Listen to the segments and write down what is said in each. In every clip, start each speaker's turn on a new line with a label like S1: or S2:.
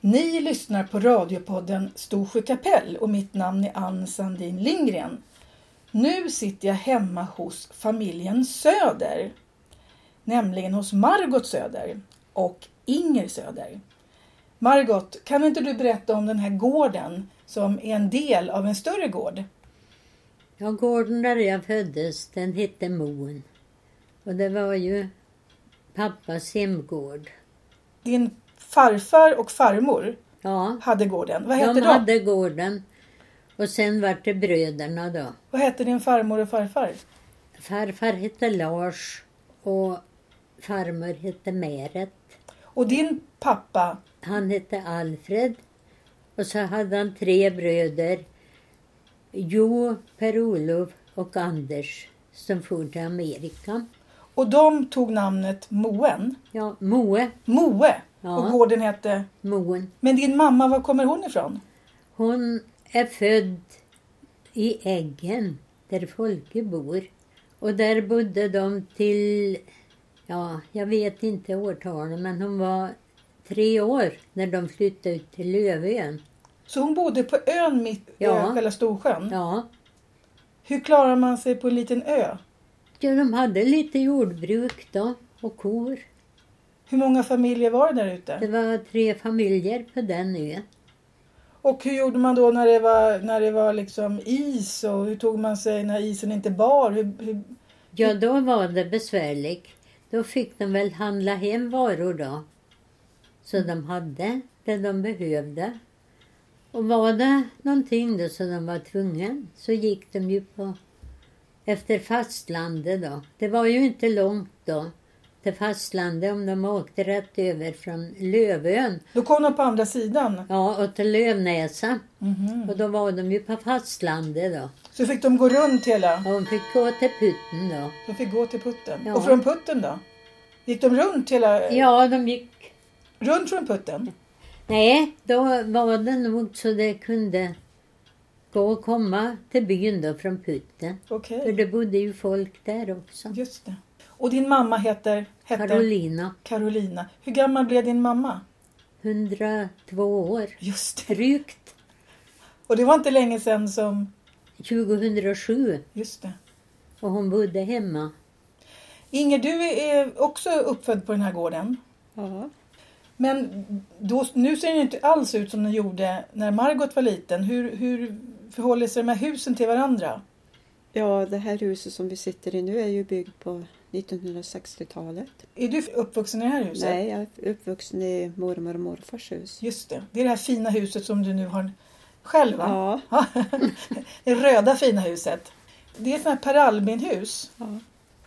S1: Ni lyssnar på radiopodden Storsjö kapell och mitt namn är Ann Sandin Lindgren. Nu sitter jag hemma hos familjen Söder. Nämligen hos Margot Söder och Inger Söder. Margot, kan inte du berätta om den här gården som är en del av en större gård?
S2: Ja, gården där jag föddes, den hette Moen. Och det var ju pappas hemgård.
S1: Din farfar och farmor
S2: Ja,
S1: hade gården. Vad hette
S2: de
S1: de?
S2: hade gården. Och sen vart det bröderna då.
S1: Vad hette din farmor och farfar?
S2: Farfar hette Lars och farmor hette Märet.
S1: Och din pappa,
S2: Han hette Alfred. Och så hade han tre bröder. Jo, Per-Olof och Anders som for till Amerika.
S1: och de tog namnet Moen.
S2: Ja, Moe,
S1: Moe
S2: Ja.
S1: och gården hette...
S2: Moen.
S1: Men din mamma, var kommer hon ifrån?
S2: Hon är född i Äggen, där Folke bor. Och där bodde de till, ja, jag vet inte årtalen, men hon var tre år när de flyttade ut till Lövön.
S1: Så hon bodde på ön mitt i
S2: Ja.
S1: själva Storsjön.
S2: Ja.
S1: Hur klarar man sig på en liten ö?
S2: ja, de hade lite jordbruk då och kor.
S1: Hur många familjer var det där ute?
S2: Det var tre familjer på den ön.
S1: Och hur gjorde man då när det var, när det var liksom is? Och hur tog man sig när isen inte bar? Hur, hur...
S2: Ja, då var det besvärligt. Då fick de väl handla hem varor då. Så de hade det de behövde. Och var det någonting då som de var tvungna så gick de ju på efter fastlandet då. Det var ju inte långt då till fastlandet om de åkte rätt över från Lövön,
S1: Då kom de på andra sidan.
S2: ja och till Lövnäsa.
S1: Mhm.
S2: Och då var de ju på fastlandet då.
S1: Så fick de gå runt hela.
S2: Och de fick gå till Putten då.
S1: De fick gå till putten.
S2: Ja.
S1: Och från putten då? Gick de runt hela...
S2: Ja, de gick
S1: Runt från putten?
S2: Nej, då var det nog så det kunde gå och komma till byn då från Putten.
S1: Okej,
S2: För det bodde ju folk där också.
S1: just det. Och din mamma heter? hette
S2: Carolina,
S1: Carolina. Hur gammal blev din mamma?
S2: 102 år.
S1: Just det.
S2: Drygt
S1: Och det var inte länge sedan som...
S2: 2007
S1: Just det.
S2: och hon bodde hemma.
S1: Inger, du är också uppfödd på den här gården.
S3: Ja,
S1: Men då, nu ser den inte alls ut som den gjorde när Margot var liten. Hur, hur förhåller sig de här husen till varandra?
S3: ja det här huset som vi sitter i nu är ju byggt på 1960-talet.
S1: Är du uppvuxen i det här huset?
S3: Nej, jag är uppvuxen i mormor och morfars hus.
S1: Just det. Det är det här fina huset som du nu har själv va?
S3: Ja,
S1: Ja. det röda fina huset. Det är ett sånt här Per Albin-hus.
S3: ja.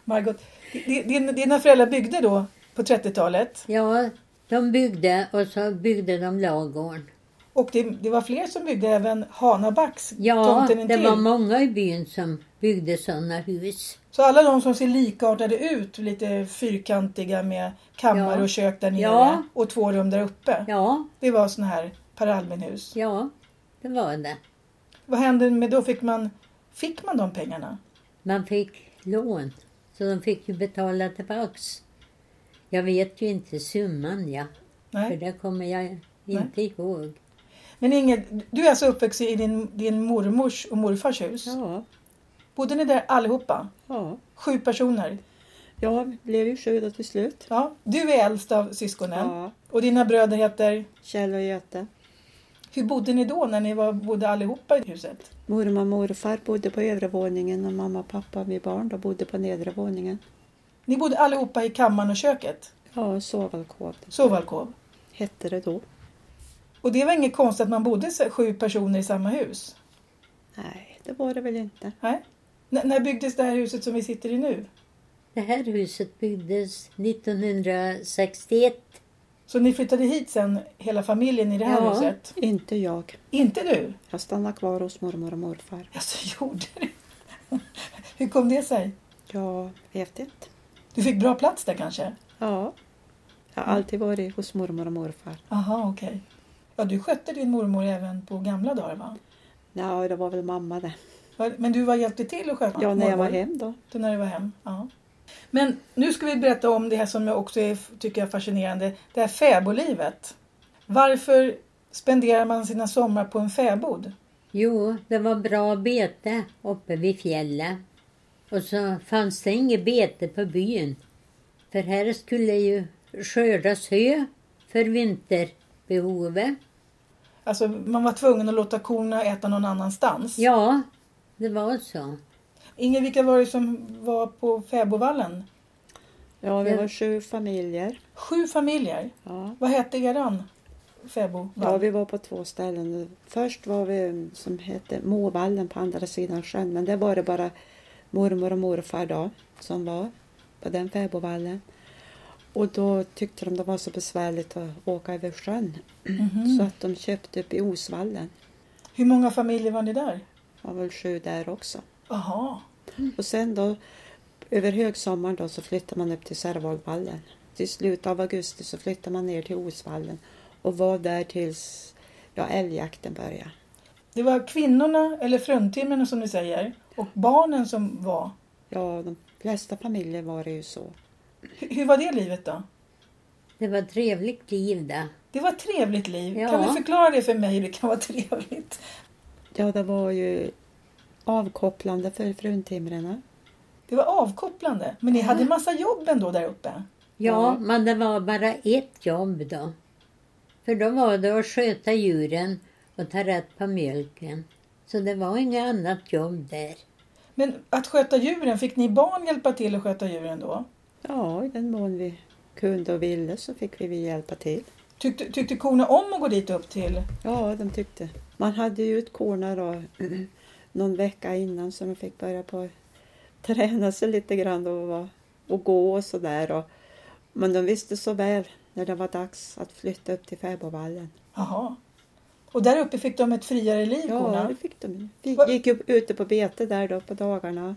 S1: Margot, di- di- dina föräldrar byggde då på 30-talet
S2: Ja, de byggde och så byggde de lagården.
S1: och det, det var fler som byggde även Hanabacks,
S2: Ja,
S1: tomten
S2: det
S1: intill.
S2: var många i byn som byggde sådana hus.
S1: Så alla de som ser likartade ut, lite fyrkantiga med kammare
S2: Ja.
S1: och kök där nere
S2: Ja.
S1: och två rum där uppe.
S2: Ja,
S1: Det var sådana här Per Albin-hus.
S2: ja, det var det.
S1: Vad hände med då? Fick man, fick man de pengarna?
S2: Man fick lån, så de fick ju betala tillbaks. Jag vet ju inte summan, ja. För
S1: Nej.
S2: det kommer jag inte ihåg.
S1: Men Inge, du är alltså uppväxt i din, din mormors och morfars hus.
S3: ja,
S1: Bodde ni där allihopa?
S3: ja.
S1: Sju personer.
S3: Jag blev ju sju då till slut.
S1: Ja. Du är äldst av syskonen
S3: Ja,
S1: och dina bröder heter
S3: Kjell och Göte.
S1: Hur bodde ni då när ni var, bodde allihopa i huset?
S3: Mormor och morfar bodde på övre våningen och mamma och pappa, vi barn, då bodde på nedre våningen.
S1: Ni bodde allihopa i kammaren och köket,
S3: Ja, sovalkov
S1: sovalkov.
S3: hette det då.
S1: Och det var inget konstigt att man bodde så- sju personer i samma hus?
S3: Nej, det var det väl inte.
S1: Nej. N- när byggdes det här huset som vi sitter i nu?
S2: Det här huset byggdes 1961.
S1: Så ni flyttade hit sen, hela familjen i det här
S2: Ja.
S1: huset?
S3: Inte jag.
S1: Inte du?
S3: Jag stannade kvar hos mormor och morfar.
S1: Alltså, gjorde du? Hur kom det sig?
S3: Jag vet inte.
S1: Du fick bra plats där kanske?
S3: Ja. Jag har alltid varit hos mormor och morfar.
S1: Aha, okej. Ja, du skötte din mormor även på gamla dagar va?
S3: Ja, det var väl mamma det.
S1: Var- Men du var hjälpte till att sköta
S3: Ja, när jag var
S1: mormor?
S3: hem då.
S1: Då när du var hem? Ja. Men nu ska vi berätta om det här som jag också är, tycker är fascinerande. Det här fäbodlivet. Varför spenderar man sina somrar på en fäbod?
S2: Jo, det var bra bete uppe vid fjället. Och så fanns det inget bete på byn. För här skulle ju skördas hö för vinterbehovet.
S1: Alltså, man var tvungen att låta korna äta någon annanstans.
S2: Ja, det var så.
S1: Inger, vilka var det som var på fäbodvallen?
S3: Ja, vi
S2: Ja.
S3: var sju familjer.
S1: Sju familjer.
S3: Ja.
S1: Vad hette eran
S3: Ja,
S1: fäbodvall?
S3: vi var på två ställen. Först var vi mm, som hette Måvallen på andra sidan sjön, men där var det bara mormor och morfar då, som var på den fäbodvallen. Och då tyckte de det var så besvärligt att åka över sjön,
S1: Mhm.
S3: så att de köpte upp i Osvallen.
S1: Hur många familjer var ni där?
S3: Det var väl sju där också.
S1: Aha.
S3: Och sen då, över högsommaren då, så flyttade man upp till Särvalvallen. Till slutet av augusti så flyttade man ner till Osvallen och var där tills ja, älgjakten började.
S1: Det var kvinnorna, eller fruntimren som ni säger, och barnen som var.
S3: Ja, de flesta familjer var det ju så.
S1: Hur, hur var det livet då?
S2: Det var ett trevligt liv där.
S1: Det var ett trevligt liv.
S2: Ja.
S1: Kan du förklara det för mig hur det kan vara trevligt?
S3: Ja, det var ju avkopplande för fruntimrarna.
S1: Det var avkopplande. Men ni hade massa jobb ändå där uppe.
S2: Ja,
S3: Ja.
S2: men det var bara ett jobb då. För då var det att sköta djuren och ta rätt på mjölken. Så det var inget annat jobb där.
S1: Men att sköta djuren, fick ni barn hjälpa till att sköta djuren då?
S3: Ja, i den mån vi kunde och ville så fick vi väl hjälpa till.
S1: Tyckte, tyckte korna om att gå dit upp till?
S3: Ja, de tyckte. Man hade ju ut korna då någon vecka innan så de fick börja på träna sig lite grann och, vara- och gå och sådär. Men de visste så väl när det var dags att flytta upp till fäbodvallen.
S1: Jaha. Och där uppe fick de ett friare liv,
S3: Ja, det
S1: korna.
S3: fick de. Vi
S1: Vad-
S3: gick upp ute på bete där då på dagarna.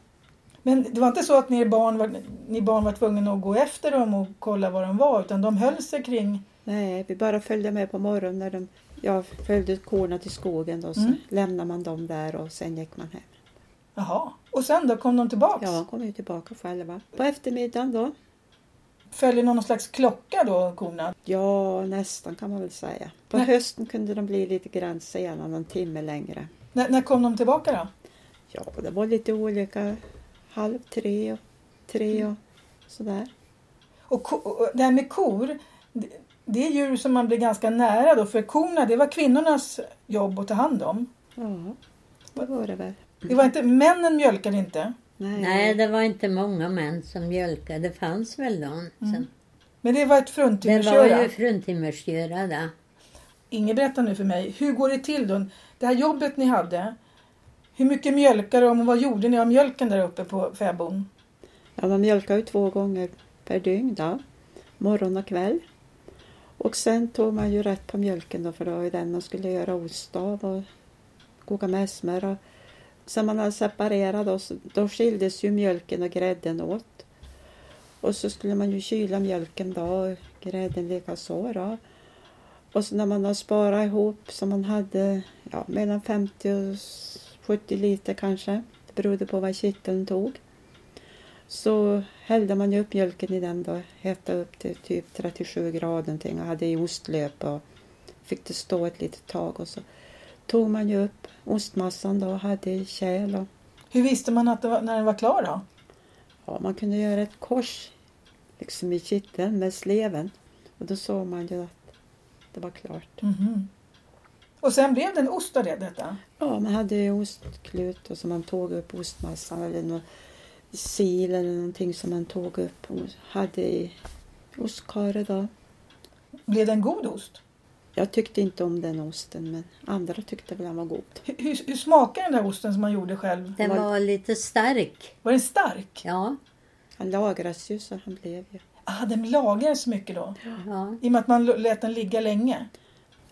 S1: Men det var inte så att ni barn var, ni barn var tvungna att gå efter dem och kolla var de var, utan de höll sig kring...
S3: Nej, vi bara följde med på morgonen när de ja, följde ut korna till skogen. Då, så
S1: Mm.
S3: lämnade man dem där och sen gick man hem.
S1: Jaha. Och sen då, kom de tillbaks?
S3: Ja, de kom ju tillbaka själva. På eftermiddagen då?
S1: Följer någon slags klocka då, korna?
S3: Ja, nästan kan man väl säga. På
S1: Nej.
S3: hösten kunde de bli lite grann sena, någon timme längre.
S1: När, när kom de tillbaka då?
S3: Ja, det var lite olika. Halv tre och tre och sådär.
S1: Och, ko, och det här med kor, det, det är djur som man blir ganska nära då, för korna det var kvinnornas jobb att ta hand om.
S3: Ja, det var det väl.
S1: Det var inte, männen mjölkade inte.
S3: Nej,
S2: Nej, det var inte många män som mjölkade. Det fanns väl någon. Mm.
S1: Men det var ett
S2: Det var
S1: fruntimmersgöra.
S2: ju fruntimmersgöra där.
S1: Inge, berätta nu för mig, hur går det till då? Det här jobbet ni hade, hur mycket mjölkade de och vad gjorde ni av mjölken där uppe på fäbon?
S3: Ja, man mjölkade ju två gånger per dygn då, morgon och kväll. Och sen tog man ju rätt på mjölken då, för det var ju den man skulle göra ost av och koka mässmör och sen man hade separerat då, så då skildes ju mjölken och grädden åt. Och så skulle man ju kyla mjölken då, och grädden likaså då. Och så när man har sparat ihop så man hade ja, mellan 50 och 70 liter kanske, det berodde på vad kitteln tog. Så hällde man ju upp mjölken i den då, hetade upp till typ 37 grader någonting och hade i ostlöp och fick det stå ett litet tag och så tog man ju upp ostmassan då och hade i kärl och
S1: Hur visste man att det var, när den var klar då?
S3: ja, man kunde göra ett kors liksom i kitteln med sleven och då såg man ju att det var klart.
S1: Mhm. Och sen blev det en ost av det, detta?
S3: Ja, man hade ju ostklut och så man tog upp ostmassan eller någon sil eller någonting som man tog upp och hade i ostkaret då.
S1: Blev det en god ost?
S3: Jag tyckte inte om den osten men andra tyckte väl den var god.
S1: Hur, hur, hur smakade den där osten som man gjorde själv?
S2: Den
S3: Var-
S2: var lite stark.
S1: Var den stark?
S2: Ja,
S3: Han lagras ju så han blev ju.
S1: Ah, den lagrades så mycket då?
S2: ja.
S1: I och med att man l- lät den ligga länge?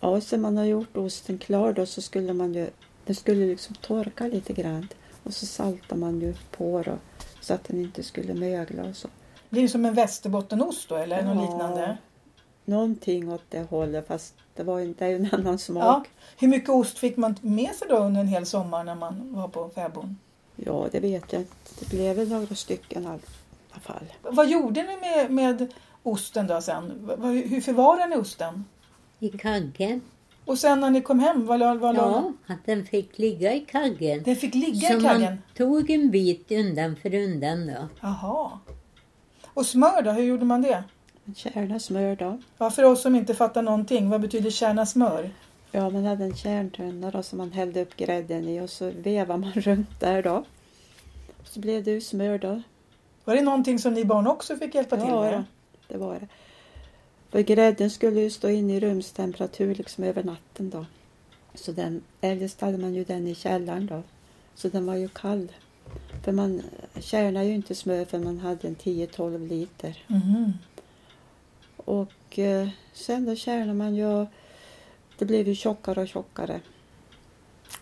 S3: Ja, och sen man har gjort osten klar då så skulle man ju, den skulle liksom torka lite grann och så saltar man ju på då så att den inte skulle mögla och så.
S1: Blir det som en västerbottenost då eller något liknande?
S3: Någonting åt det hållet fast det, var ju, det är ju en annan
S1: Ja.
S3: smak.
S1: Hur mycket ost fick man med sig då under en hel sommar när man var på fäbon?
S3: Ja, det vet jag inte. Det blev väl några stycken i alla fall.
S1: Vad gjorde ni med, med osten då sen? Va- va- Hur förvarade ni osten?
S2: i kaggen.
S1: Och sen när ni kom hem, vad la vad la-
S2: Ja, att den fick ligga i kaggen.
S1: Den fick ligga
S2: Så
S1: i
S2: man
S1: kaggen?
S2: tog en bit undan för undan då.
S1: Jaha. Och smör då, hur gjorde man det?
S3: En kärna smör då.
S1: Ja, för oss som inte fattar någonting, vad betyder kärna smör?
S3: Ja, man hade en kärntunna då som man hällde upp grädden i och så vevade man runt där då. Så blev det ju smör då.
S1: Var det någonting som ni barn också fick hjälpa till med?
S3: ja, det var det. För grädden skulle ju stå inne i rumstemperatur liksom över natten då. Så den, eljest hade man ju den i källaren då. Så den var ju kall. För man kärnade ju inte smör för man hade en 10-12 liter.
S1: Mhm.
S3: Och eh, sen då kärnade man ju. Det blev ju tjockare och tjockare.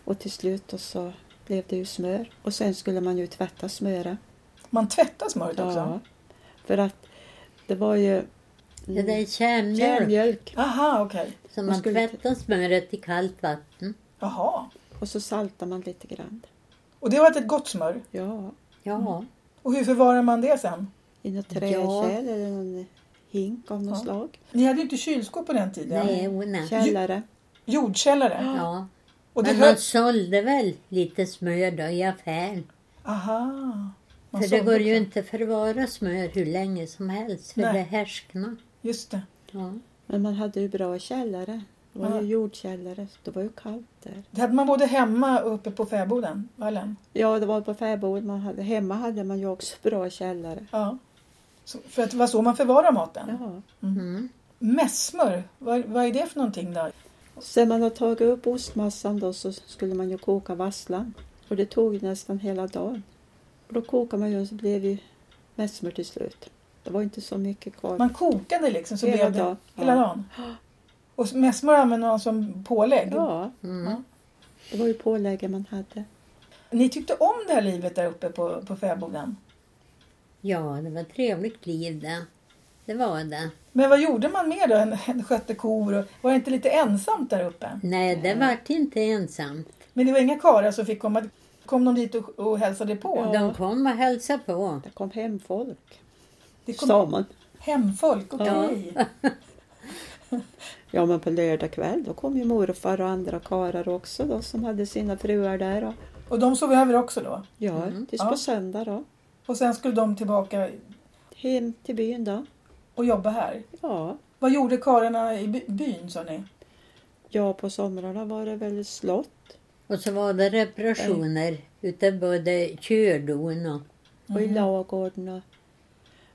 S3: Och till slut då så blev det ju smör. Och sen skulle man ju tvätta smöret.
S1: Man tvättar smöret också?
S3: Ja. För att det var ju Mm,
S2: Det där är kärnmjöl
S3: kärnmjölk.
S1: Aha, okej.
S2: som
S3: Man
S2: man
S3: skulle-
S2: tvättar smöret i kallt vatten.
S1: Jaha.
S3: Och så saltar man lite grann.
S1: Och det var ett gott smör?
S3: Ja,
S2: Ja,
S1: Och hur förvarar man det sen?
S3: i något
S2: Ja.
S3: träkärl eller någon hink av något
S1: Ja.
S3: slag.
S1: Ni hade ju inte kylskåp på den tiden.
S2: nej, ona.
S3: Källare.
S1: Jordkällare.
S2: Ja.
S1: Och det
S2: Men man
S1: höll...
S2: sålde väl lite smör då i affären.
S1: Aha. Man
S2: för det
S1: såg
S2: går ju
S1: också.
S2: inte förvara smör hur länge som helst, för
S1: Nej.
S2: det härsknar.
S1: Just det.
S2: Ja.
S3: Men man hade ju bra källare. Det var
S1: Ja.
S3: ju jordkällare. så Det var ju kallt där.
S1: Det hade man både hemma och uppe på fäboden, vallen.
S3: Ja, det var på fäbod man hade. Hemma hade man ju också bra källare.
S1: Ja. Så, för att det var så man förvarar maten.
S3: Ja.
S2: Mm.
S1: Mässmör, vad, vad är det för någonting då?
S3: Sen man har tagit upp ostmassan då så skulle man ju koka vasslan. Och det tog ju nästan hela dagen. Och då kokade man ju och så blev ju mässmör till slut. Det var inte så mycket kvar.
S1: Man kokade liksom så
S3: hela
S1: blev det
S3: dagen.
S1: hela
S3: ja.
S1: dagen. Och mässmör använde man som pålägg.
S3: ja,
S2: Mm.
S3: det var ju påläggen man hade.
S1: Ni tyckte om det här livet där uppe på, på fäboden.
S2: ja, det var ett trevligt liv det. Det var det.
S1: Men vad gjorde man mer då än, än skötte kor? Och, var det inte lite ensamt där uppe?
S2: Nej, det vart inte ensamt.
S1: Men det var inga karlar som fick komma. Kom de dit och, och hälsade på?
S3: Ja.
S2: De kom och hälsade på.
S3: Det kom hem folk,
S1: Det kom
S3: sa man.
S1: hemfolk, okej.
S3: Ja, men på lördag kväll då kom ju morfar och andra karlar också då som hade sina fruar där. Och,
S1: Och de sov över också då?
S3: ja,
S2: Mm.
S3: tills
S1: Ja.
S3: på söndag då.
S1: Och sen skulle de tillbaka
S3: Hem till byn då.
S1: och jobba här?
S3: Ja,
S1: Vad gjorde karlarna i by- byn sa ni?
S3: ja på somrarna var det väl slott
S2: Och så var det reparationer ute både kördon och...
S3: och
S1: Mm.
S3: i lagården. Och,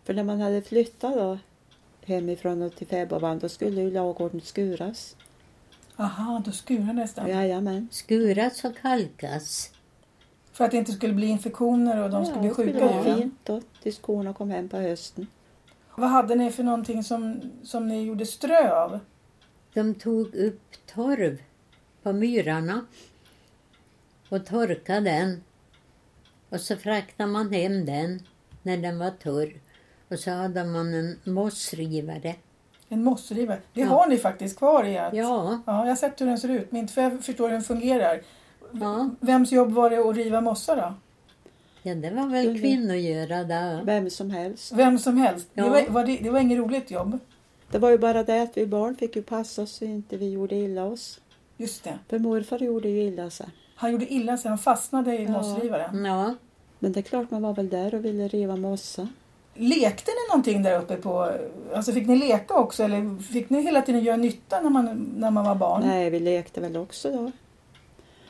S3: för när man hade flyttat då hemifrån och till fäbodvagn då skulle ju lagården skuras.
S1: Aha, då skurades den.
S3: Jajamän.
S2: skuras och kalkas.
S1: För att det inte skulle bli infektioner och de skulle bli
S3: det
S1: sjuka.
S3: var
S1: i den.
S3: fint då tills korna kom hem på hösten.
S1: Vad hade ni för någonting som, som ni gjorde strö av?
S2: De tog upp torv på myrarna och torkade den. Och så fraktade man hem den när den var torr. Och så hade man en mossrivare.
S1: En mossriva. Det
S2: Ja.
S1: har ni faktiskt kvar i ert...
S2: Ja,
S1: ja. Jag har sett hur den ser ut, men inte för jag förstår hur den fungerar.
S2: ja,
S1: Vems jobb var det att riva mossa då?
S2: ja det var väl kvinnogöra där.
S3: Vem som helst.
S1: Vem som helst. Det,
S2: Ja.
S1: var, var det, det var inget roligt jobb.
S3: Det var ju bara det att vi barn fick ju passa oss så inte vi gjorde illa oss.
S1: Just det.
S3: För morfar gjorde ju illa sig.
S1: Han gjorde illa sig, han fastnade i
S3: Ja.
S1: mossrivaren.
S2: Ja,
S3: Men det är klart man var väl där och ville riva mossa.
S1: Lekte ni någonting där uppe på... Alltså fick ni leka också eller fick ni hela tiden göra nytta när man, när man var barn?
S3: Nej, vi lekte väl också då.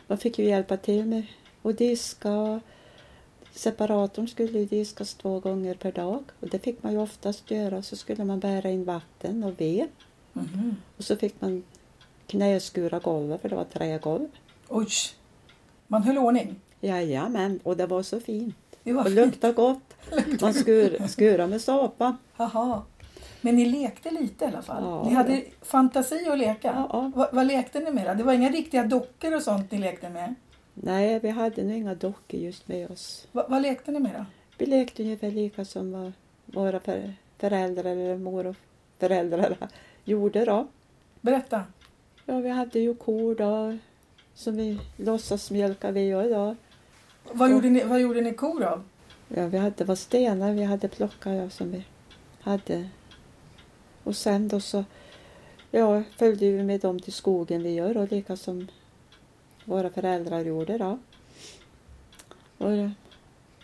S3: Man fick ju hjälpa till med att diska. Separatorn skulle ju diskas två gånger per dag och det fick man ju oftast göra. Så skulle man bära in vatten och ved
S1: Mhm.
S3: och så fick man knäskura golvet för det var trägolv.
S1: Oj! Man höll ordning.
S3: Jajamän, och det var så fint.
S1: Det var
S3: Och
S1: fint.
S3: luktade gott. Man skur, skurade med såpa.
S1: Jaha. Men ni lekte lite i alla fall?
S3: Ja,
S1: ni hade fantasi att leka?
S3: Ja, ja.
S1: Va- vad lekte ni med då? Det var inga riktiga dockor och sånt ni lekte med?
S3: Nej, vi hade nog inga dockor just med oss.
S1: Va- vad lekte ni med då?
S3: Vi lekte ungefär lika som vad våra för- föräldrar eller mor och föräldrar gjorde då.
S1: Berätta.
S3: Ja, vi hade ju kor då som vi låtsasmjölkade vi och då.
S1: Vad, gjorde ni, vad gjorde ni kor av?
S3: Ja, vi hade, det var stenar vi hade plockat ja, som vi hade. Och sen då så Ja, följde ju med dem till skogen vi gör och lika som våra föräldrar gjorde då. Och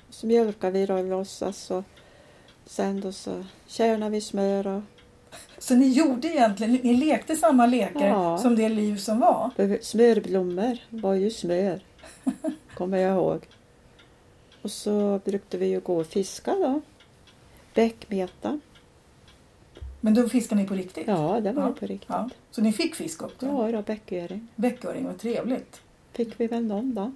S3: så mjölkar vi då låtsas och sen då så kärnar vi smör och
S1: Så ni gjorde egentligen, ni lekte samma lekar
S3: Ja.
S1: som det liv som var.
S3: För Smörblommor var ju smör, kommer jag ihåg. Och så brukade vi ju gå och fiska då. Bäckmeta.
S1: Men då fiskade ni på riktigt?
S3: Ja, det var
S1: Ja.
S3: ju på riktigt.
S1: Ja. Så ni fick fisk också?
S3: Ja, då, bäcköring.
S1: Bäcköring, vad trevligt.
S3: Fick vi väl någon då.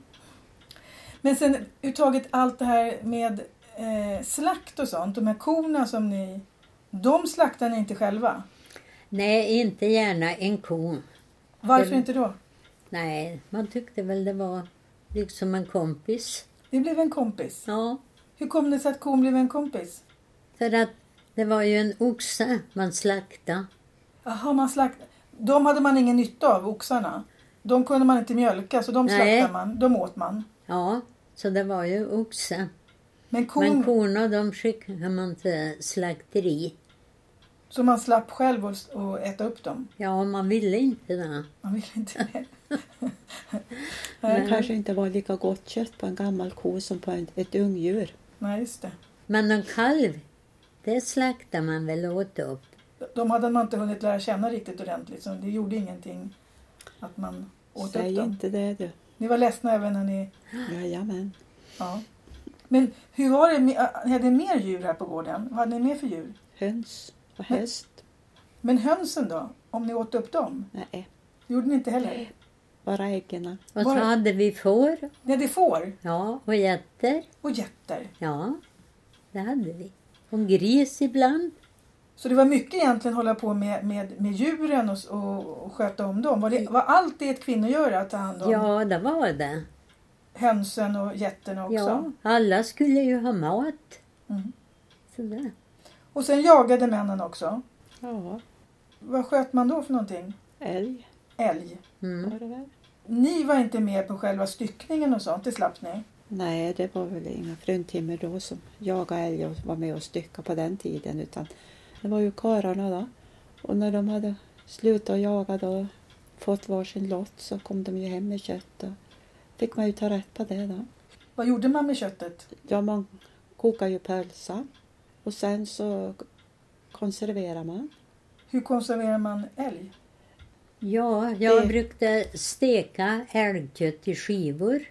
S1: Men sen uttaget allt det här med eh, slakt och sånt, de här korna som ni, de slaktar ni inte själva?
S2: Nej, inte gärna en ko.
S1: Varför
S2: Själv.
S1: inte då?
S2: Nej, man tyckte väl det var liksom en kompis.
S1: Det blev en kompis.
S2: Ja,
S1: Hur kom det sig att kon blev en kompis?
S2: för att det var ju en oxe man slaktade.
S1: Jaha, man slakt... De hade man ingen nytta av, oxarna. De kunde man inte mjölka, så de
S2: Nej.
S1: slaktade man. De åt man.
S2: Ja, så det var ju oxe.
S1: Men kon,
S2: Men korna de skickade man till slakteri.
S1: så man slapp själv att att äta upp dem.
S2: Ja, man ville inte det.
S1: Man ville inte det.
S3: Men
S1: Nej.
S3: det kanske inte var lika gott kött på en gammal ko som på en, ett ungdjur.
S1: Nej, just det.
S2: Men en kalv, det slaktade man väl och åt upp.
S1: De hade man inte hunnit lära känna riktigt ordentligt, så det gjorde ingenting att man åt upp
S3: Säg
S1: dem.
S3: inte det du.
S1: Ni var ledsna även när ni...
S3: Jajamän.
S1: Ja. Men hur var det med... Ni hade mer djur här på gården? Vad hade ni mer för djur?
S3: Höns och häst.
S1: Men hönsen då? Om ni åt upp dem?
S3: Nej,
S1: gjorde ni inte heller?
S3: bara äggen.
S2: Och så
S1: Var-
S2: hade vi får,
S1: Ni hade får
S2: ja, och getter.
S1: och getter.
S2: Ja, det hade vi. Och gris ibland.
S1: Så det var mycket egentligen att hålla på med, med, med djuren och, och, och sköta om dem. Var, det, var allt det ett kvinnogöra att ta hand om
S2: Mm. Ja, det var det.
S1: hönsen och getterna också?
S2: Ja, alla skulle ju ha mat.
S1: Mm.
S2: Så det.
S1: Och sen jagade männen också.
S3: Ja,
S1: Vad sköt man då för någonting?
S3: älg
S1: Älg.
S2: Mm.
S3: var det väl.
S1: Ni var inte med på själva styckningen och sånt, det slapp ni.
S3: Nej, det var väl inga fruntimmer då som jagade älg och var med och styckade på den tiden. Utan det var ju karlarna då. Och när de hade slutat jaga då, fått varsin lott, så kom de ju hem med kött. Då fick man ju ta rätt på det då.
S1: Vad gjorde man med köttet?
S3: Ja, man kokar ju pölsa och sen så konserverar man.
S1: Hur konserverar man älg?
S2: Ja, jag
S3: Det-
S2: brukade steka älgkött i skivor.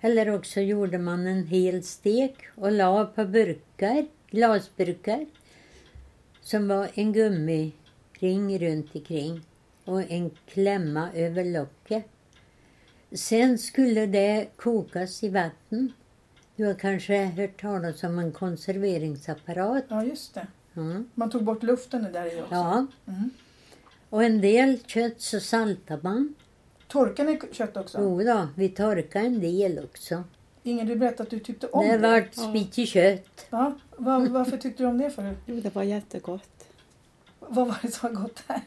S2: Eller också gjorde man en hel stek och la på burkar, glasburkar som var en gummiring runt omkring och en klämma över locket. Sen skulle det kokas i vatten. Du har kanske hört talas om en konserveringsapparat?
S1: Ja, just det.
S2: Mm.
S1: Man tog bort luften där i också.
S2: Ja.
S1: Mm.
S2: Och en del kött så saltar man.
S1: Torkade ni kött också?
S2: Jo då, vi torkar en del också.
S1: Ingen, du berättade att du tyckte om
S2: det
S1: det.
S2: vart spitig kött.
S1: Ja, vad, varför tyckte du om det för?
S3: Jo, det var jättegott.
S1: Vad var det som var gott där?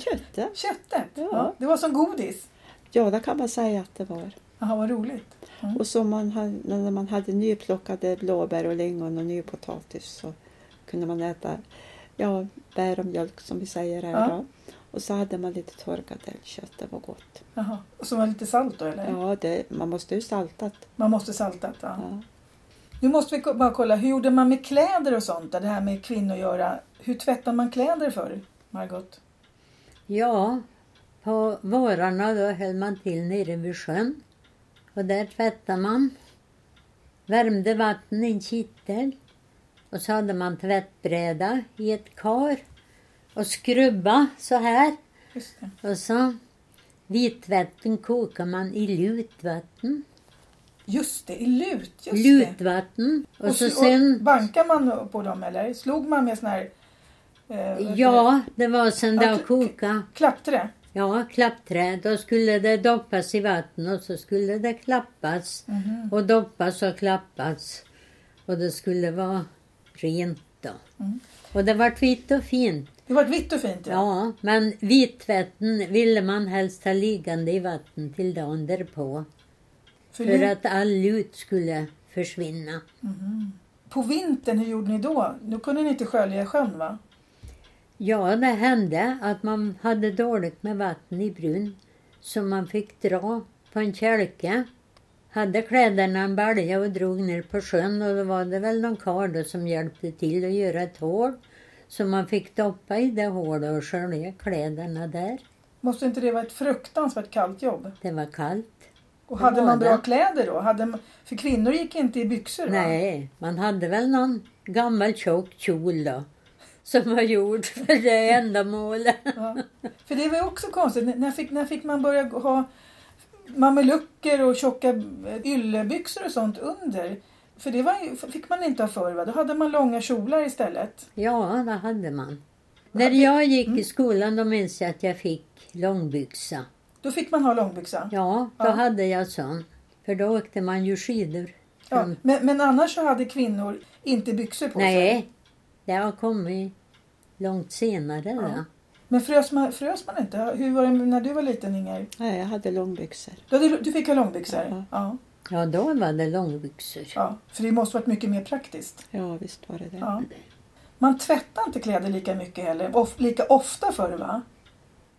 S3: Köttet?
S1: Köttet? Ja.
S3: Ja.
S1: det var som godis.
S3: Ja, det kan man säga att det var.
S1: Jaha, vad roligt.
S3: Och så man hade, när man hade nyplockade blåbär och lingon och nypotatis så kunde man äta ja, bär och mjölk som vi säger här
S1: Ja.
S3: då. Och så hade man lite torkat älgkött, det var gott.
S1: Jaha. Och så var det lite salt då eller?
S3: Ja, det, man måste ju saltat.
S1: Man måste salta. Mm. Ja.
S3: Ja.
S1: Nu måste vi ko- bara kolla, hur gjorde man med kläder och sånt? där? Det här med kvinnogöra. Hur tvättar man kläder för, Margot?
S2: Ja, på vårarna då höll man till nere vid sjön. Och där tvättade man. Värmde vatten i en kittel. Och så hade man tvättbräda i ett kar. Och skrubba så här.
S1: Just det.
S2: Och så vitvatten kokar man i lutvatten.
S1: Just det, i lut. Just det.
S2: Lutvatten. Och, så
S1: sl-
S2: sen...
S1: bankar man på dem eller? Slog man med sån här... Eh, vad heter det?
S2: Ja, det var sen
S1: Ja,
S2: det
S1: kl-
S2: koka.
S1: Klappträ?
S2: Ja, klappträ. Då skulle det doppas i vatten och så skulle det klappas.
S1: Mhm.
S2: Och doppas och klappas. Och det skulle vara rent då.
S1: Mm.
S2: Och det vart vitt och fint.
S1: Det var ett vitt och fint.
S2: Ja, men vittvätten ville man helst ha liggande i vatten till dagen därpå.
S1: För
S2: För
S1: lut-
S2: att all lut skulle försvinna.
S1: På vintern, hur gjorde ni då? Då kunde ni inte skölja i sjön va?
S2: Ja, det hände att man hade dåligt med vatten i brunn så man fick dra på en kälke. Hade kläderna en balja och drog ner på sjön och då var det väl någon karl då som hjälpte till att göra ett hål. Så man fick doppa i det hålet och skölja kläderna där.
S1: Måste inte det vara ett fruktansvärt kallt jobb?
S2: Det var kallt.
S1: Och
S2: Det
S1: hade
S2: var
S1: man bra
S2: det.
S1: kläder då? Hade man, för kvinnor gick inte i byxor va?
S2: Nej, man hade väl någon gammal tjock kjol då. Som var gjord för det ändamålet.
S1: Ja. För det var ju också konstigt. N- När fick, när fick man börja gå- ha mamelucker och tjocka eh, yllebyxor och sånt under? För det var ju, f- fick man inte ha förr va? Då hade man långa kjolar istället.
S2: Ja, det hade man. När jag gick
S1: mm.
S2: i skolan då minns jag att jag fick långbyxa.
S1: Då fick man ha långbyxa.
S2: Ja, då
S1: Ja.
S2: hade jag sån. För då åkte man ju skidor.
S1: Ja.
S2: Mm.
S1: Men, men annars så hade kvinnor inte byxor på sig.
S2: Nej, det har kommit långt senare. då.
S1: Men frös man, frös man inte? Hur var det när du var liten Inger?
S3: Nej, jag hade långbyxor.
S1: Du, hade, du fick ha långbyxor?
S3: Ja.
S1: Ja.
S2: Ja, då var det långbyxor.
S1: ja. För det måste varit mycket mer praktiskt.
S3: Ja, visst var det det.
S1: Ja. Man tvättade inte kläder lika mycket heller. Of, lika ofta förr va?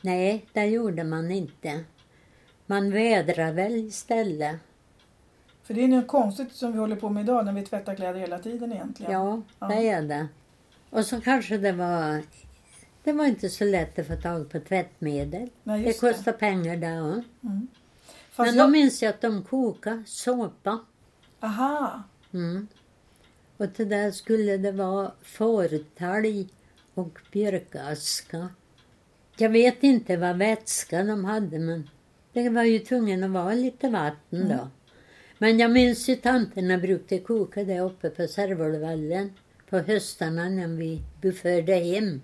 S2: Nej, det gjorde man inte. Man vädrar väl istället.
S1: För det är något konstigt som vi håller på med idag när vi tvättar kläder hela tiden egentligen.
S2: Ja,
S1: Ja.
S2: det är det. Och så kanske det var... Det var inte så lätt att få tag på tvättmedel.
S1: Nej,
S2: Det
S1: just
S2: kostar pengar det ja.
S1: Fast
S2: Men
S1: jag...
S2: då minns jag att de kokade såpa.
S1: Aha,
S2: Mm. Och till det skulle det vara fårtalg och björkaska. Jag vet inte vad vätska de hade men det var ju tvungen att vara lite vatten
S1: Mm.
S2: då. Men jag minns ju tanterna brukade koka det uppe på Särvolvallen på höstarna när vi beförde hem.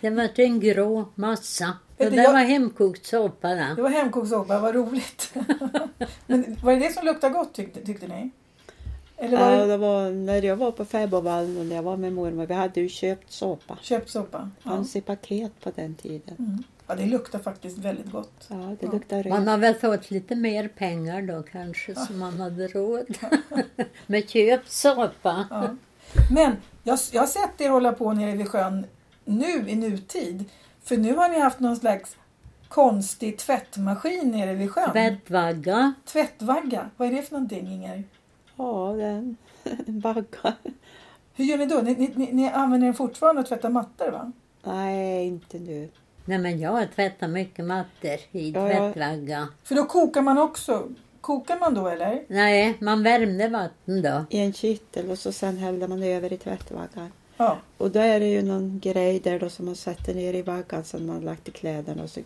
S2: Det var en grå massa.
S1: Är det
S2: Och det
S1: Mhm. jag-
S2: var hemkokt såpa där.
S1: det var hemkoksoppa, vad roligt. Men var det det som luktade gott tyckte, tyckte ni? Eller var
S3: Ja,
S2: Eh,
S1: det
S3: det var när jag var på fäbodvallen och när jag var med mormor. Vi hade ju köpt såpa.
S1: köpt soppa? Ja.
S3: Fanns i paket på den tiden.
S1: ja, det luktar faktiskt väldigt gott.
S3: Ja, det luktar
S2: Man
S3: rent.
S2: har väl fått lite mer pengar då kanske som man hade råd med köpt såpa.
S1: Ja. Men jag, jag har sett er hålla på nere vid sjön nu i nutid. För nu har ni haft någon slags konstig tvättmaskin nere vid sjön.
S2: Tvättvagga.
S1: Tvättvagga, vad är det för någonting Inger?
S3: Ja, den baggar.
S1: Hur gör ni då? Ni, ni, ni, ni använder den fortfarande och tvättar mattor va?
S3: Nej, inte nu.
S2: Nej men jag har tvättat mycket mattor i
S3: Ja, ja.
S2: tvättvagga.
S1: För då kokar man också. Kokar man då eller?
S2: Nej, man värmde vatten då.
S3: I en kittel och så sen hällde man över i tvättvaggan.
S1: Ja.
S3: Och då är det ju någon grej där då som man sätter ner i vaggan sen man har lagt i kläderna och så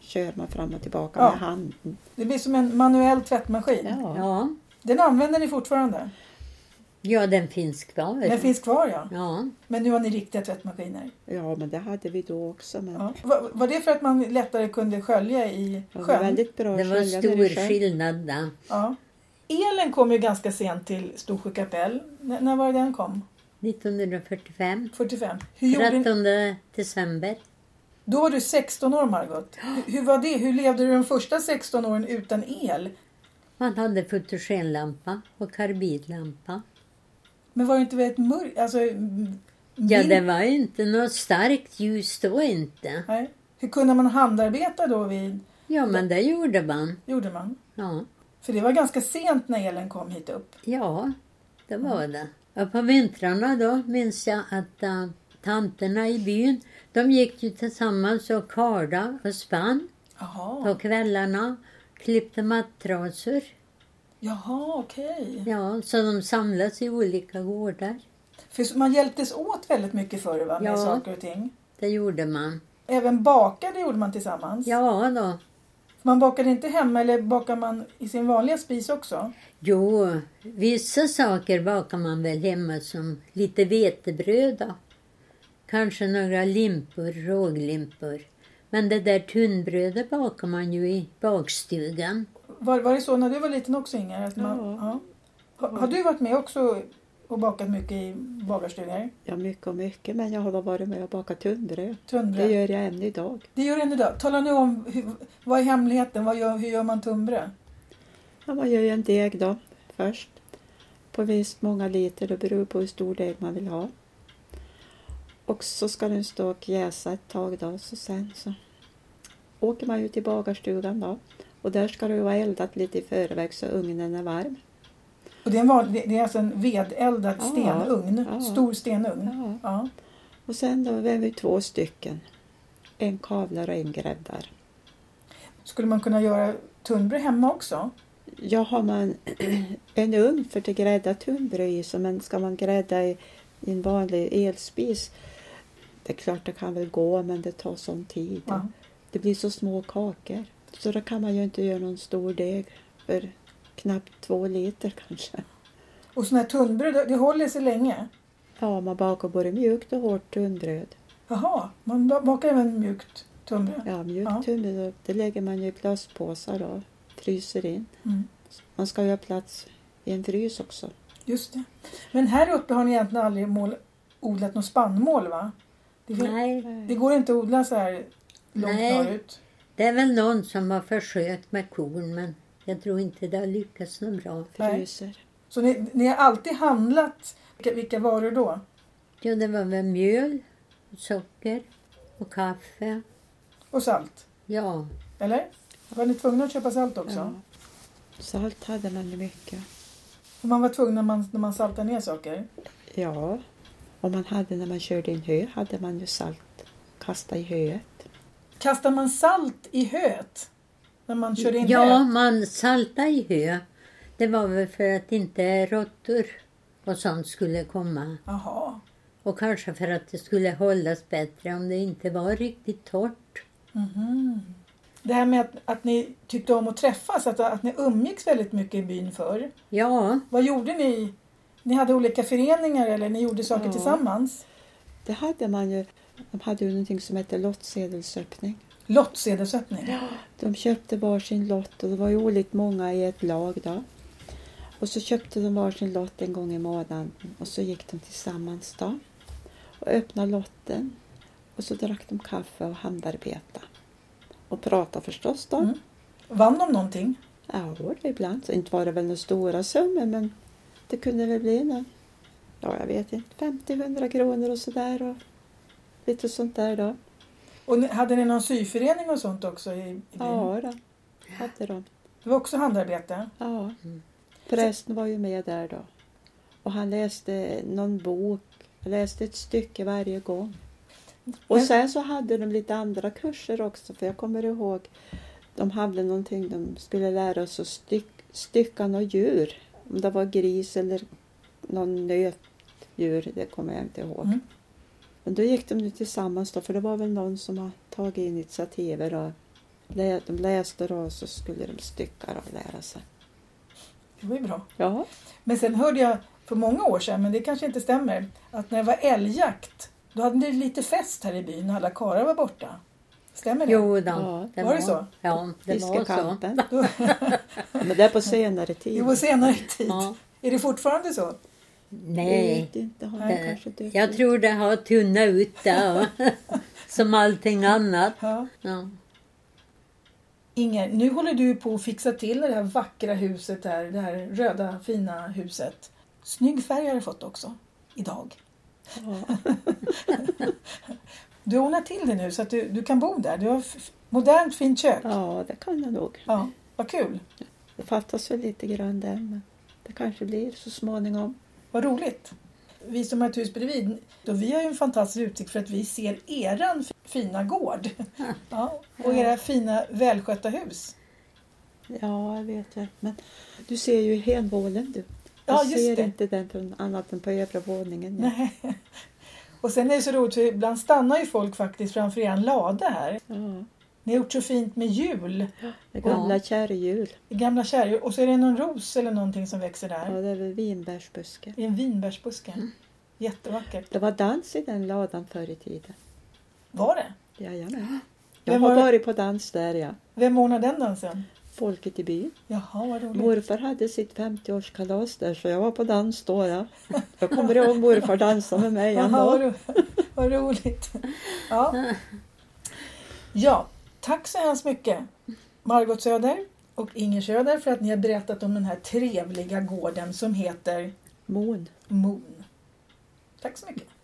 S3: kör man fram och tillbaka
S1: Ja.
S3: med handen.
S1: Det blir som en manuell tvättmaskin.
S2: Ja,
S1: Den använder ni fortfarande?
S2: ja den finns kvar.
S1: Den finns kvar ja.
S2: Ja,
S1: Men nu har ni riktiga tvättmaskiner.
S3: Ja, men det hade vi då också. Men
S1: Ja. Var, var det för att man lättare kunde skölja i
S3: det var
S1: sjön?
S3: väldigt bra
S2: det var
S3: skölja när det
S2: stor
S3: sjönk.
S2: skillnad där.
S1: Ja. Elen kom ju ganska sent till Storsjö kapell. N- när var det den kom?
S2: 1945.
S1: 45. Hur gjorde ni?
S2: 13 december.
S1: Då var du 16 år Margot. Hur, hur var det? Hur levde du de första 16 åren utan el?
S2: Man hade fotogenlampa och karbidlampa.
S1: Men var det inte väldigt mörkt? Alltså,
S2: Ja,
S1: vind-
S2: det var ju inte något starkt ljus då inte.
S1: Nej. Hur kunde man handarbeta då? Vid,
S2: Ja, men det gjorde man.
S1: gjorde man?
S2: Ja,
S1: För det var ganska sent när elen kom hit upp.
S2: ja det var det. Och på vintrarna då minns jag att eh, tanterna i byn, de gick ju tillsammans och karda och spann
S1: Jaha,
S2: på kvällarna. Klippte mattrasor.
S1: Jaha okej.
S2: Ja, så de samlades i olika gårdar.
S1: För så- man hjälptes åt väldigt mycket förr va? med
S2: Ja.
S1: saker och ting.
S2: Det gjorde man.
S1: Även bakade gjorde man tillsammans.
S2: Ja då.
S1: Man bakade inte hemma eller bakar man i sin vanliga spis också?
S2: Jo, vissa saker bakar man väl hemma som lite vetebröd då. Kanske några limpor, råglimpor. Men det där tunnbrödet bakar man ju i bakstugan.
S1: Var, var det så när du var liten också Inger? Att man,
S3: Ja.
S1: ja. Ha, har du varit med också och bakat mycket i bagarstugor?
S3: Ja, mycket och mycket, men jag har då varit med och bakat tunnbröd. Det
S1: Tunnbröd?
S3: gör jag än idag.
S1: Det gör du än idag. Tala nu om, hur, vad är hemligheten? Vad gör, hur gör man tunnbröd?
S3: Ja, man gör ju en deg då först. På visst många liter, det beror på hur stor deg man vill ha. Och så ska den stå och jäsa ett tag då, så sen så åker man ju till bagarstugan då. Och där ska det ju vara eldat lite i förväg så ugnen är varm.
S1: Och det, är en vanlig, det är alltså en vedeldad
S3: Ja.
S1: stenugn,
S3: Ja.
S1: stor stenugn.
S3: Ja.
S1: Ja.
S3: Och sen då är vi två stycken. En kavlar och en gräddar.
S1: Skulle man kunna göra tunnbröd hemma också?
S3: Jag har man en ugn för att grädda tunnbröd i, så men ska man grädda i, i en vanlig elspis, det är klart det kan väl gå men det tar sån tid.
S1: Ja.
S3: Det blir så små kakor. Så då kan man ju inte göra någon stor deg för knappt två liter kanske.
S1: Och sådana här tunnbröd, det- det håller sig länge?
S3: Ja, man bakar både mjukt och hårt tunnbröd.
S1: Jaha, man ba- bakar även mjukt tunnbröd?
S3: Ja, mjukt
S1: Ja.
S3: tunnbröd, det lägger man ju i glaspåsar då, fryser in.
S1: Mm.
S3: Man ska ju ha plats i en frys också.
S1: Just det. Men här uppe har ni egentligen aldrig mål, odlat någon spannmål va? Det, fin-
S2: Nej,
S1: det går inte att odla så här långt
S2: Nej.
S1: norrut?
S2: det är väl någon som har försökt med korn men jag tror inte det har lyckats något bra.
S3: Fryser.
S1: Så ni, ni har alltid handlat, vilka, vilka varor då?
S2: Jo, det var väl mjöl, socker och kaffe.
S1: Och salt?
S2: Ja,
S1: Eller? Var ni tvungna att köpa salt också?
S3: Ja. Salt hade man ju mycket.
S1: Och man var tvungen när man, när man saltade ner saker?
S3: Ja, och man hade när man körde in hö hade man ju salt kasta i höet.
S1: Kastar man salt i höet? När man körde in
S2: ja
S1: höet?
S2: man saltade i hö. Det var väl för att inte råttor och sånt skulle komma.
S1: Jaha.
S2: Och kanske för att det skulle hållas bättre om det inte var riktigt torrt.
S1: Mhm. Det här med att, att ni tyckte om att träffas, att, att ni umgicks väldigt mycket i byn förr.
S2: Ja,
S1: Vad gjorde ni? Ni hade olika föreningar eller ni gjorde saker
S3: Ja.
S1: tillsammans?
S3: Det hade man ju. De hade ju någonting som hette lottsedelsöppning.
S1: Lottsedelsöppning?
S3: De köpte varsin lott och det var ju olika många i ett lag då. Och så köpte de varsin lott en gång i månaden och så gick de tillsammans då och öppnade lotten och så drack de kaffe och handarbeta. Och pratade förstås då.
S1: Mm. Vann de någonting?
S3: Ja, ibland. Så inte var det väl några stora summor, men det kunde väl bli någon, ja jag vet inte, 50-100 kronor och sådär och lite sånt där då.
S1: Och ni, hade ni någon syförening och sånt också i, i byn?
S3: Ja, då. hade de.
S1: Det var också handarbete?
S3: Ja.
S2: Mm.
S3: Prästen var ju med där då. Och han läste någon bok, han läste ett stycke varje gång. Och
S1: Men-
S3: sen så hade de lite andra kurser också, för jag kommer ihåg de hade någonting, de skulle lära oss att styck, stycka något djur. Om det var gris eller någon nötdjur, det kommer jag inte ihåg.
S1: Mm.
S3: Men då gick de ju tillsammans då, för det var väl någon som har tagit initiativet och lä- de läste då och så skulle de stycka och lära sig.
S1: Det var ju bra.
S3: Ja,
S1: Men sen hörde jag för många år sedan, men det kanske inte stämmer, att när det var älgjakt då hade ni lite fest här i byn när alla karlar var borta. Stämmer det?
S2: jo då,
S3: Ja.
S1: Var det så?
S2: Ja, det var så.
S3: fiskekampen. Men det är på senare tid.
S1: Det var senare tid.
S2: Ja.
S1: Är det fortfarande så?
S3: Jag
S2: Nej,
S3: vet inte, har
S1: Nej.
S3: de kanske dött
S2: jag
S3: ut?
S2: tror det har tunnat ut det. ja. Som allting annat.
S1: Ja.
S2: Ja.
S1: Inger, nu håller du på att fixa till det här vackra huset här, det här röda fina huset. Snygg färg har du fått också, idag.
S3: Ja.
S1: Du har ordnat till det nu så att du, du kan bo där. Du har f- modernt fint kök. Ja.
S3: ja, det kan jag nog.
S1: vad kul,
S3: Det fattas väl lite grann där, men det kanske blir så småningom.
S1: vad roligt. Vi som har ett hus bredvid, då vi har ju en fantastisk utsikt för att vi ser eran f- fina gård. Ja, och era fina välskötta hus.
S3: Ja, jag vet det. Men du ser ju henvålen du. Jag
S1: Ja, just
S3: ser
S1: det.
S3: inte den från annat än på övre våningen. nu.
S1: Nej. Och sen är det så roligt för ibland stannar ju folk faktiskt framför er lada här.
S3: Ja,
S1: Ni har gjort så fint med jul.
S3: det gamla
S2: Ja.
S3: kärrhjul.
S1: Gamla kärror och så är det någon ros eller någonting som växer
S3: Ja,
S1: där.
S3: det är väl vinbärsbuske.
S1: I en vinbärsbuske. Jättevackert.
S3: Det var dans i den ladan förr i tiden.
S1: Var det?
S3: Jajamän. Jag
S1: Vem
S3: har
S1: var det?
S3: varit på dans där, ja.
S1: Vem ordnade den dansen?
S3: Folket i byn.
S1: Jaha, vad roligt.
S3: Morfar hade sitt 50-årskalas där så jag var på dans då. Ja. Jag kommer ihåg morfar dansade med mig.
S1: Jaha, vad,
S3: ändå.
S1: ro- vad roligt. Ja. ja, tack så hemskt mycket Margot Söder och Inger Söder för att ni har berättat om den här trevliga gården som heter
S3: Mon.
S1: Moon. Tack så mycket.